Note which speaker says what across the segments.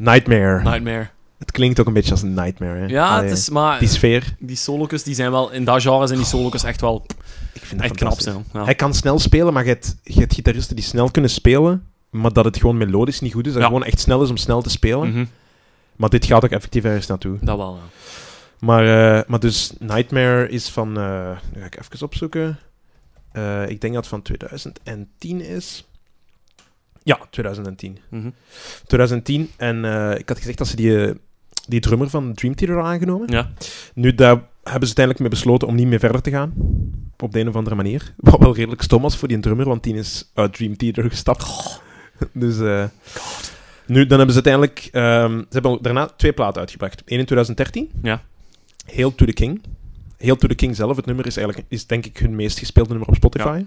Speaker 1: Nightmare.
Speaker 2: Nightmare.
Speaker 1: Het klinkt ook een beetje als een nightmare. Hè?
Speaker 2: Ja,
Speaker 1: Allee,
Speaker 2: het is eh, maar...
Speaker 1: Die sfeer.
Speaker 2: Die solocus, die zijn wel... In dat genre zijn die solocus echt wel
Speaker 1: Ik vind dat
Speaker 2: echt knap
Speaker 1: fantastisch.
Speaker 2: snel. Ja.
Speaker 1: Hij kan snel spelen, maar je hebt, je hebt gitaristen die snel kunnen spelen, maar dat het gewoon melodisch niet goed is. Dat
Speaker 2: Ja.
Speaker 1: het gewoon echt snel is om snel te spelen.
Speaker 2: Mhm,
Speaker 1: Maar dit gaat ook effectief ergens naartoe.
Speaker 2: Dat wel, ja.
Speaker 1: Maar, eh, maar dus Nightmare is van... eh nu ga ik even opzoeken. Eh, ik denk dat het van 2010 is. Ja, 2010.
Speaker 2: Mhm.
Speaker 1: 2010. En eh, ik had gezegd dat ze die, eh, die drummer van Dream Theater hadden aangenomen.
Speaker 2: Ja.
Speaker 1: Nu, daar hebben ze uiteindelijk mee besloten om niet meer verder te gaan. Op de een of andere manier. Wat wel redelijk stom was voor die drummer, want die is uit Dream Theater gestapt. Dus... eh, Nu, dan hebben ze uiteindelijk... ehm, ze hebben daarna twee platen uitgebracht. Eén in 2013.
Speaker 2: Ja.
Speaker 1: Hail to the King. Hail to the King zelf, het nummer, is eigenlijk is denk ik hun meest gespeelde nummer op Spotify.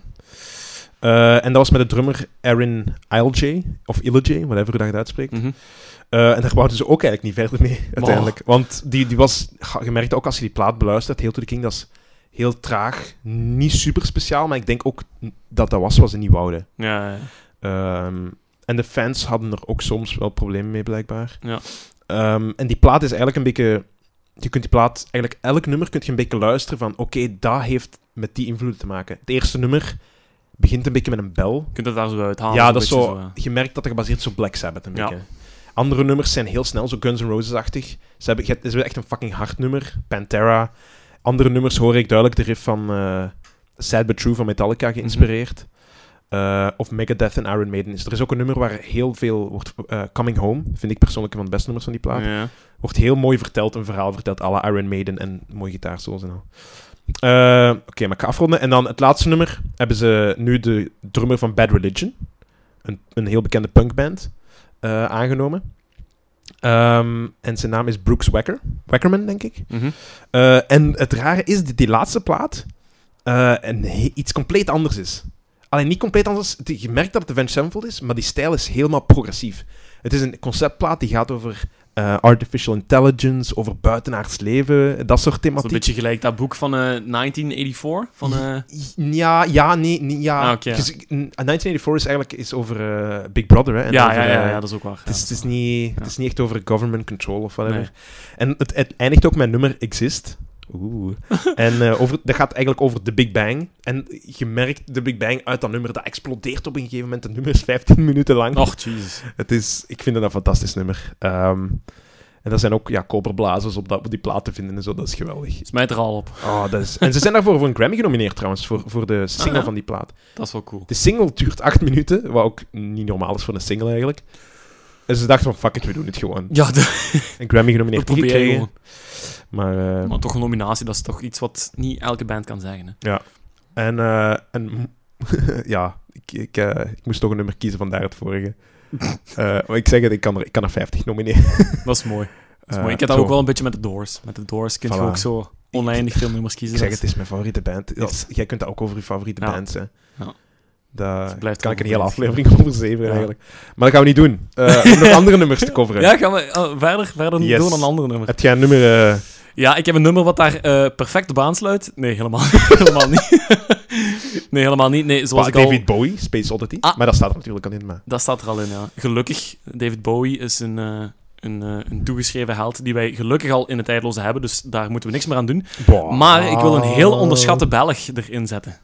Speaker 1: Eh, en dat was met de drummer Aaron Islj, of Iljay, whatever hoe dat je het uitspreekt.
Speaker 2: Mhm.
Speaker 1: Eh, en daar wouden ze ook eigenlijk niet verder mee, uiteindelijk. Want die, die was, ga- je merkte ook als je die plaat beluistert, Heel to the King, dat is heel traag. Niet super speciaal, maar ik denk ook dat dat was wat ze niet wouden.
Speaker 2: Ja, ja.
Speaker 1: Ehm, en de fans hadden er ook soms wel problemen mee, blijkbaar.
Speaker 2: Ja.
Speaker 1: Ehm, en die plaat is eigenlijk een beetje... Je kunt die plaat... Eigenlijk elk nummer kun je een beetje luisteren van... Oké, dat heeft met die invloeden te maken. Het eerste nummer begint een beetje met een bel.
Speaker 2: Je kunt het daar zo uithalen.
Speaker 1: ja,
Speaker 2: Ah, een
Speaker 1: dat is zo...
Speaker 2: beetje ja.
Speaker 1: Je merkt dat er gebaseerd is op Black Sabbath een
Speaker 2: Ja.
Speaker 1: beetje. Andere nummers zijn heel snel, zo Guns N' Roses-achtig. Ze hebben, je hebt- ze hebben echt een fucking hard nummer. Pantera. Andere nummers hoor ik duidelijk de riff van eh, Sad But True van Metallica geïnspireerd. Eh, of Megadeth en Iron Maiden. is. er is ook een nummer waar heel veel wordt... eh, Coming Home vind ik persoonlijk een van de beste nummers van die plaat.
Speaker 2: Ja.
Speaker 1: Wordt heel mooi verteld, een verhaal verteld à la Iron Maiden en mooie gitaarsolos en al. Eh, Oké, maar ik ga afronden. En dan het laatste nummer hebben ze nu de drummer van Bad Religion, een, een heel bekende punkband, eh, aangenomen. Ehm, en zijn naam is Brooks Wacker, Wackerman, denk ik.
Speaker 2: Mhm.
Speaker 1: Eh, en het rare is dat die laatste plaat eh, een he- iets compleet anders is. Alleen niet compleet anders. Die- Je merkt dat het Avenged Sevenfold is, maar die stijl is helemaal progressief. Het is een conceptplaat die gaat over eh, artificial intelligence, over buitenaards leven, dat soort
Speaker 2: Dat is een
Speaker 1: thematiek.
Speaker 2: beetje gelijk dat boek van eh, 1984. Van, eh,
Speaker 1: Ja, ja, nee, nee ja.
Speaker 2: Ah, oké, ja.
Speaker 1: Dus, eh, 1984 is eigenlijk is over eh, Big Brother, hè? en
Speaker 2: ja,
Speaker 1: over,
Speaker 2: ja, ja,
Speaker 1: eh,
Speaker 2: ja, dat is ook waar.
Speaker 1: Het is, het, is niet, het is niet echt over government control of whatever.
Speaker 2: Nee.
Speaker 1: En het, het eindigt ook met nummer Exist. Oeh. en eh, over, dat gaat eigenlijk over de Big Bang. En je merkt de Big Bang uit dat nummer, dat explodeert op een gegeven moment. Het nummer is 15 minuten lang.
Speaker 2: Och, jezus.
Speaker 1: Het is, ik vind het een fantastisch nummer. Ehm, en er zijn ook ja, koperblazers op, dat, op die plaat te vinden en zo. Dat is geweldig.
Speaker 2: Smijt er al op.
Speaker 1: Oh, dat is... En ze zijn daarvoor voor een Grammy genomineerd trouwens, voor, voor de single
Speaker 2: Ah, ja?
Speaker 1: van die plaat.
Speaker 2: Dat is wel cool.
Speaker 1: De single duurt 8 minuten, wat ook niet normaal is voor een single eigenlijk. En ze dachten van, fuck it, we doen het gewoon.
Speaker 2: Ja, de,
Speaker 1: Een Grammy
Speaker 2: dat
Speaker 1: genomineerd
Speaker 2: probeer je
Speaker 1: gekregen.
Speaker 2: gewoon.
Speaker 1: Maar, eh,
Speaker 2: Maar toch een nominatie, dat is toch iets wat niet elke band kan zeggen. Hè?
Speaker 1: en, eh, en ja, ik, ik, eh, ik moest toch een nummer kiezen, vandaar het vorige. Eh, maar ik zeg het, ik kan er, ik kan er 50 nomineren.
Speaker 2: Dat is mooi. Dat is
Speaker 1: Eh,
Speaker 2: mooi. Ik heb dat
Speaker 1: zo.
Speaker 2: ook wel een beetje met de Doors. Met de Doors kun je
Speaker 1: Voilà.
Speaker 2: ook zo oneindig veel nummers kiezen.
Speaker 1: Ik zeg het,
Speaker 2: Dat
Speaker 1: het is mijn favoriete band. Het is- jij kunt dat ook over je favoriete
Speaker 2: Ja.
Speaker 1: bands, hè.
Speaker 2: Ja.
Speaker 1: Daar
Speaker 2: Het blijft
Speaker 1: kan ik een
Speaker 2: gewoon
Speaker 1: hele
Speaker 2: goed.
Speaker 1: aflevering over zeven
Speaker 2: Ja.
Speaker 1: eigenlijk. Maar dat gaan we niet doen. Eh, om nog andere nummers te coveren.
Speaker 2: Ja, gaan we oh, verder, verder
Speaker 1: Yes.
Speaker 2: door naar een ander nummer.
Speaker 1: Heb jij een nummer... eh,
Speaker 2: Ja, ik heb een nummer wat daar eh, perfect op aansluit. Nee, helemaal, helemaal niet. nee, helemaal niet. Nee, zoals ik al...
Speaker 1: David Bowie, Space Oddity.
Speaker 2: Ah.
Speaker 1: Maar dat staat er natuurlijk al in. Maar...
Speaker 2: Dat staat er al in, ja. Gelukkig, David Bowie is een, eh, een, eh, een toegeschreven held die wij gelukkig al in het tijdloze hebben, dus daar moeten we niks meer aan doen. Maar ik wil een heel onderschatte Belg erin zetten.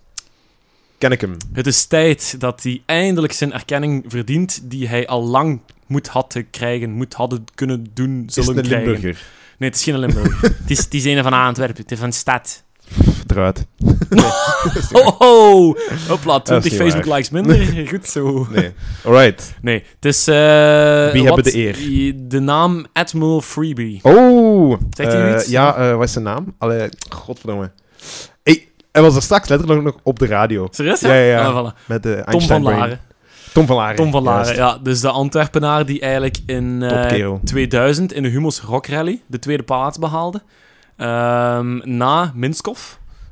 Speaker 1: Ken ik hem?
Speaker 2: Het is tijd dat hij eindelijk zijn erkenning verdient die hij al lang moet hadden krijgen, moet hadden kunnen doen,
Speaker 1: Is
Speaker 2: zullen
Speaker 1: het een
Speaker 2: krijgen.
Speaker 1: Limburger?
Speaker 2: Nee, het is geen Limburg. het, is, het is een van Antwerpen, het is van de stad.
Speaker 1: Eruit.
Speaker 2: Oh, oh. Hopla, 20
Speaker 1: niet waar.
Speaker 2: Facebook likes minder. Goed zo.
Speaker 1: Nee. Alright.
Speaker 2: Nee, het is... eh,
Speaker 1: Wie
Speaker 2: wat-
Speaker 1: hebben de eer?
Speaker 2: De naam Admiral Freebie.
Speaker 1: Oh!
Speaker 2: Zegt hij
Speaker 1: eh,
Speaker 2: iets?
Speaker 1: Ja, eh, wat is zijn naam? Allee, godverdomme. Hey, hij was er straks letterlijk nog op de radio.
Speaker 2: Serieus, hè?
Speaker 1: Ja, ja, ja.
Speaker 2: Ah, voilà.
Speaker 1: Met de
Speaker 2: Tom van
Speaker 1: Einstein Brain.
Speaker 2: Laren.
Speaker 1: Tom van Laren.
Speaker 2: Tom van Laren,
Speaker 1: juist.
Speaker 2: ja. Dus de Antwerpenaar die eigenlijk in eh,
Speaker 1: Topkerel.
Speaker 2: 2000 in de Humo's Rock Rally de tweede plaats behaalde. Ehm, na Minskov.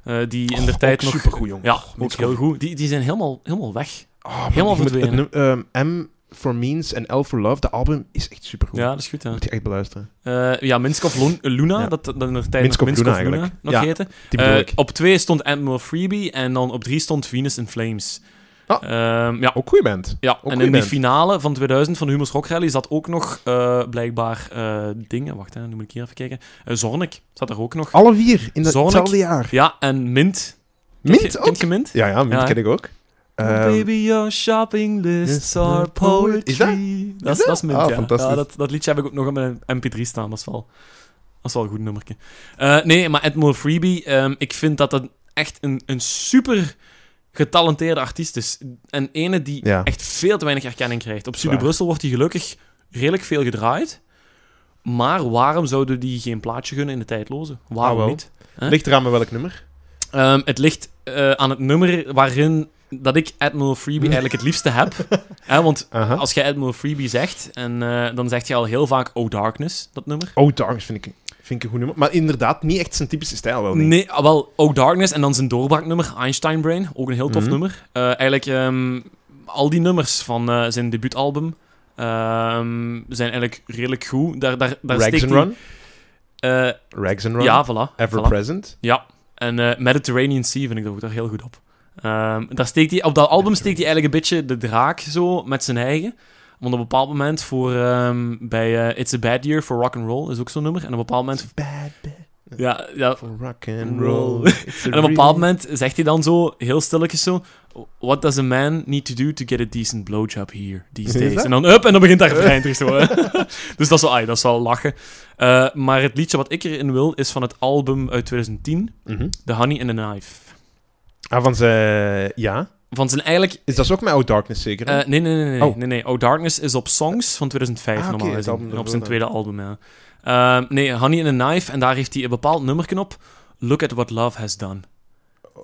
Speaker 2: eh, die in de
Speaker 1: Och,
Speaker 2: tijd
Speaker 1: ook
Speaker 2: nog...
Speaker 1: Oh, supergoed, jong.
Speaker 2: Ja,
Speaker 1: Och,
Speaker 2: ook
Speaker 1: Minskov.
Speaker 2: heel goed. Die, die zijn helemaal, helemaal weg.
Speaker 1: Oh, man,
Speaker 2: Helemaal
Speaker 1: je moet het
Speaker 2: verdwenen.
Speaker 1: num- ehm, M for Means en L for Love, de album is echt supergoed.
Speaker 2: Ja, dat is goed, hè.
Speaker 1: Moet je echt beluisteren.
Speaker 2: Eh, ja, Minskov Lon- Luna,
Speaker 1: Ja.
Speaker 2: dat, dat in de tijd
Speaker 1: Minskov
Speaker 2: nog Minskov
Speaker 1: Luna
Speaker 2: Luna,
Speaker 1: eigenlijk.
Speaker 2: nog
Speaker 1: Ja.
Speaker 2: heette.
Speaker 1: Die bedoel
Speaker 2: Eh,
Speaker 1: ik.
Speaker 2: op twee stond Admiral Freebie en dan op drie stond Venus in Flames.
Speaker 1: Ah.
Speaker 2: Ehm, ja.
Speaker 1: Ook goeie band.
Speaker 2: Ja, en
Speaker 1: goeie
Speaker 2: in die
Speaker 1: band.
Speaker 2: finale van 2000 van de Hummels Rock Rally zat ook nog eh, blijkbaar eh, dingen. Wacht, hè, nu moet ik hier even kijken. Eh, Zornik zat er ook nog.
Speaker 1: Alle vier in dat-
Speaker 2: Sonic.
Speaker 1: hetzelfde jaar.
Speaker 2: Ja, en Mint. Kent
Speaker 1: Mint
Speaker 2: je-
Speaker 1: ook?
Speaker 2: Kent je Mint?
Speaker 1: Ja, ja, Mint
Speaker 2: Ja, hè?
Speaker 1: ken ik ook. Ehm,
Speaker 2: Oh, Baby, your shopping lists
Speaker 1: is
Speaker 2: are
Speaker 1: the poetry.
Speaker 2: poetry. Dat is, dat is Mint,
Speaker 1: Ah,
Speaker 2: ja.
Speaker 1: fantastisch.
Speaker 2: Ja, dat, dat liedje heb ik ook nog op mijn mp3 staan. Dat is wel, dat is wel een goed nummertje. Eh, nee, maar Admiral Freebie, ehm, ik vind dat dat echt een, een super getalenteerde artiest is. En ene die
Speaker 1: Ja.
Speaker 2: echt veel te weinig erkenning krijgt. Op Studio
Speaker 1: Waar.
Speaker 2: Brussel wordt hij gelukkig redelijk veel gedraaid. Maar waarom zouden die geen plaatje gunnen in de tijdloze? Waarom
Speaker 1: Ah, wel.
Speaker 2: niet? hè?
Speaker 1: Ligt eraan met welk nummer?
Speaker 2: Ehm, het ligt eh, aan het nummer waarin dat ik Admiral Freebie
Speaker 1: Hmm.
Speaker 2: eigenlijk het liefste heb. Hè, want
Speaker 1: Aha.
Speaker 2: als je Admiral Freebie zegt, en, eh, dan zeg je al heel vaak Oh Darkness, dat nummer.
Speaker 1: Oh, Darkness vind ik, vind ik een goed nummer. Maar inderdaad, niet echt zijn typische stijl wel. Niet.
Speaker 2: Nee, ah, wel Oh Darkness en dan zijn doorbraaknummer Einstein Brain, ook een heel tof
Speaker 1: Mhm.
Speaker 2: nummer. Eh, eigenlijk ehm, al die nummers van eh, zijn debuutalbum ehm, zijn eigenlijk redelijk goed. Daar, daar, daar
Speaker 1: Rags
Speaker 2: steekt
Speaker 1: and
Speaker 2: hij-
Speaker 1: Run.
Speaker 2: eh,
Speaker 1: Rags and Run.
Speaker 2: ja, voilà.
Speaker 1: Ever
Speaker 2: voilà.
Speaker 1: Present.
Speaker 2: Ja, en eh, Mediterranean Sea vind ik dat ook daar heel goed op. Ehm, daar steekt hij, op dat album steekt hij eigenlijk een beetje de draak zo met zijn eigen. Want op een bepaald moment voor, ehm, bij eh, It's a Bad Year for Rock and Roll is ook zo'n nummer. En op een bepaald moment.
Speaker 1: Bad bad
Speaker 2: Ja, ja,
Speaker 1: for rock and
Speaker 2: Roll.
Speaker 1: roll. It's
Speaker 2: en op een
Speaker 1: real-
Speaker 2: bepaald moment zegt hij dan zo, heel stilletjes zo... What does a man need to do to get a decent blowjob here these
Speaker 1: Is
Speaker 2: days?
Speaker 1: dat?
Speaker 2: En dan up, en dan begint daar refrein terug te worden. dus dat is wel, ai, dat is wel lachen. Eh, maar het liedje wat ik erin wil, is van het album uit 2010,
Speaker 1: Mhm.
Speaker 2: The Honey and the Knife.
Speaker 1: Ah, van zijn... Ja.
Speaker 2: Van zijn eigenlijk...
Speaker 1: Is dat ook met Oh Darkness zeker? hè?
Speaker 2: eh, nee, nee, nee, nee,
Speaker 1: Oh.
Speaker 2: nee, nee. Oh Darkness is op Songs van 2005
Speaker 1: Ah, oké,
Speaker 2: normaal
Speaker 1: het
Speaker 2: gezien.
Speaker 1: album
Speaker 2: op
Speaker 1: daarvoor
Speaker 2: zijn
Speaker 1: dan.
Speaker 2: tweede album, ja. Ehm, nee, Honey and the Knife, en daar heeft hij een bepaald nummerknop. Look at what love has done.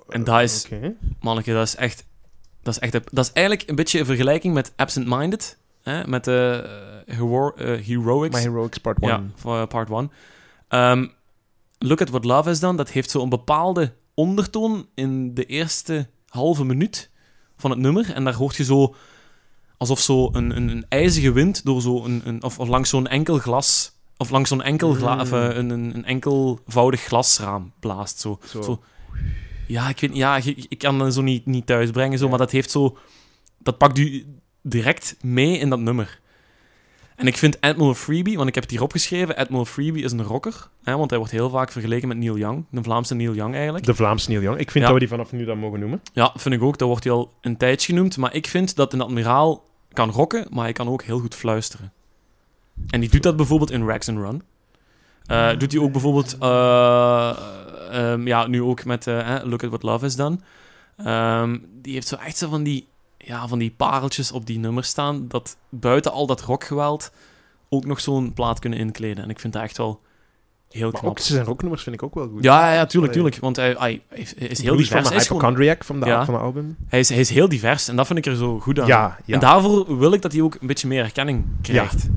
Speaker 2: en daar is-
Speaker 1: Eh, Oké.
Speaker 2: Manneke, dat is echt... Dat is, echt, dat is eigenlijk een beetje een vergelijking met Absent Minded. Hè? Met de eh, hero- eh, Heroics.
Speaker 1: My Heroics Part 1.
Speaker 2: ja, van, eh, part 1. Ehm, Look at What Love Is dan. Dat heeft zo'n bepaalde ondertoon in de eerste halve minuut van het nummer. En daar hoort je zo... Alsof zo een, een, een ijzige wind door zo een, een, of, of langs zo'n enkel glas... Of langs zo'n enkel gla, of, eh, een, een, een enkelvoudig glasraam blaast. Zo.
Speaker 1: Zo.
Speaker 2: Zo. Ja, ik, weet, ja, ik, ik kan dat zo niet, niet thuisbrengen, zo,
Speaker 1: Ja.
Speaker 2: maar dat heeft zo... Dat pakt u direct mee in dat nummer. En ik vind Admiral Freebie, want ik heb het hier opgeschreven, Admiral Freebie is een rocker, hè, want hij wordt heel vaak vergeleken met Neil Young, de Vlaamse Neil Young eigenlijk.
Speaker 1: De Vlaamse Neil Young. Ik vind
Speaker 2: Ja.
Speaker 1: dat we die vanaf nu dan mogen noemen.
Speaker 2: Ja, vind ik ook, dat wordt hij al een tijdje genoemd, maar ik vind dat een admiraal kan rocken, maar hij kan ook heel goed fluisteren. En die doet dat bijvoorbeeld in Rags and Run. Eh, doet hij ook bijvoorbeeld, eh, ehm, ja, nu ook met eh, hè, Look at What Love Is Done. Ehm, die heeft zo echt zo van die, ja, van die pareltjes op die nummers staan, dat buiten al dat rockgeweld ook nog zo'n plaat kunnen inkleden. En ik vind dat echt wel heel
Speaker 1: Maar
Speaker 2: knap.
Speaker 1: ook zijn rocknummers vind ik ook wel goed.
Speaker 2: ja, ja, ja, tuurlijk, tuurlijk. Want hij, hij is is heel
Speaker 1: Blues van
Speaker 2: divers.
Speaker 1: de
Speaker 2: Hij is, gewoon-
Speaker 1: Hypochondriac van de,
Speaker 2: Ja.
Speaker 1: van de album.
Speaker 2: hij, is, hij is heel divers en dat vind ik er zo goed aan.
Speaker 1: Ja, ja.
Speaker 2: En daarvoor wil ik dat hij ook een beetje meer erkenning krijgt.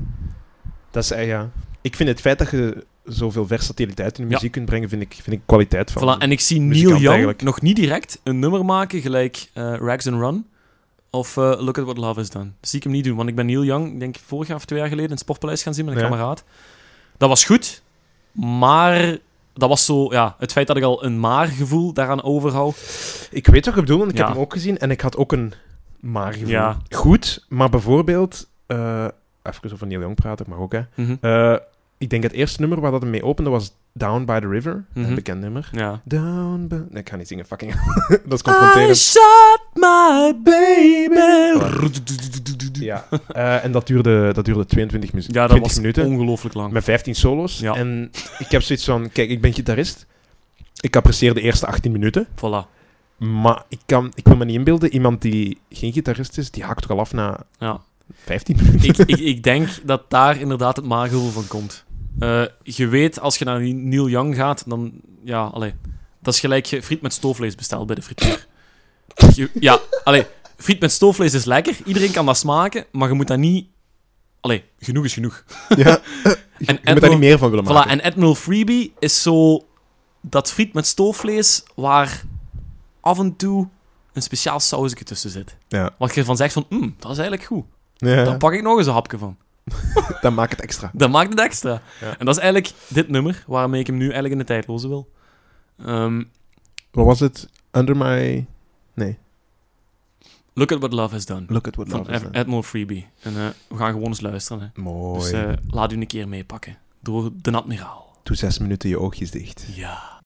Speaker 1: Dat is, eh, ja. Ik vind het feit dat je zoveel versatiliteit in de
Speaker 2: Ja.
Speaker 1: muziek kunt brengen, vind ik, vind ik kwaliteit van.
Speaker 2: Voilà, en ik zie Neil
Speaker 1: muzikant
Speaker 2: Young
Speaker 1: eigenlijk.
Speaker 2: nog niet direct een nummer maken gelijk eh, Rags and Run of eh, Look at What Love Is Done. Dat zie ik hem niet doen, want ik ben Neil Young, ik denk vorig jaar of twee jaar geleden, in het Sportpaleis gaan zien met een
Speaker 1: Ja.
Speaker 2: kameraad. Dat was goed, maar dat was zo, ja, het feit dat ik al een maar-gevoel daaraan overhoud.
Speaker 1: Ik weet wat je bedoelt, want ik
Speaker 2: Ja.
Speaker 1: heb hem ook gezien en ik had ook een maar gevoel.
Speaker 2: Ja.
Speaker 1: Goed, maar bijvoorbeeld... eh, even over Neil Young praten, ik mag ook, hè.
Speaker 2: Mhm.
Speaker 1: Eh, ik denk het eerste nummer waar dat hem mee opende was Down by the River.
Speaker 2: Mhm.
Speaker 1: Een bekend nummer.
Speaker 2: Ja.
Speaker 1: Down by... Nee, ik ga niet zingen, fucking. dat is confronterend.
Speaker 2: shot my baby.
Speaker 1: Ja. Eh, en dat duurde, dat duurde 22 minuten.
Speaker 2: Ja, dat
Speaker 1: 20
Speaker 2: was
Speaker 1: minuten.
Speaker 2: ongelooflijk lang.
Speaker 1: Met 15 solos.
Speaker 2: Ja.
Speaker 1: En ik heb zoiets van: kijk, ik ben gitarist. Ik apprecieer de eerste 18 minuten.
Speaker 2: Voilà.
Speaker 1: Maar ik, kan, ik wil me niet inbeelden, iemand die geen gitarist is, die haakt toch al af na
Speaker 2: Ja.
Speaker 1: 15 minuten.
Speaker 2: ik, ik, ik denk dat daar inderdaad het maaggevoel van komt. Eh, je weet, als je naar Neil Young gaat, dan... Ja, allee. Dat is gelijk je friet met stoofvlees bestelt bij de frituur. Je- ja, allee. Friet met stoofvlees is lekker. Iedereen kan dat smaken, maar je moet dat niet... Allee, genoeg is genoeg.
Speaker 1: ja.
Speaker 2: En
Speaker 1: je moet
Speaker 2: Admiral-
Speaker 1: daar niet meer van willen
Speaker 2: Voilà,
Speaker 1: maken.
Speaker 2: en Admiral Freebie is zo... Dat friet met stoofvlees waar af en toe een speciaal sausje tussen zit.
Speaker 1: Ja.
Speaker 2: Wat je van zegt van, "Mm, dat is eigenlijk goed.
Speaker 1: ja,
Speaker 2: Daar pak ik nog eens een hapje van.
Speaker 1: dan maakt het extra.
Speaker 2: Dat maakt het extra.
Speaker 1: Ja.
Speaker 2: En dat is eigenlijk dit nummer waarmee ik hem nu eigenlijk in de tijdloze wil. Ehm,
Speaker 1: Wat was het? Under my... Nee.
Speaker 2: Look at what love has done.
Speaker 1: Look at what
Speaker 2: van
Speaker 1: love is
Speaker 2: Ad-
Speaker 1: done.
Speaker 2: Admiral Freebie. En eh, we gaan gewoon eens luisteren. Hè. eh,
Speaker 1: Mooi.
Speaker 2: Dus eh, laat u een keer meepakken. Door de admiraal.
Speaker 1: Doe zes minuten je oogjes dicht.
Speaker 2: Ja.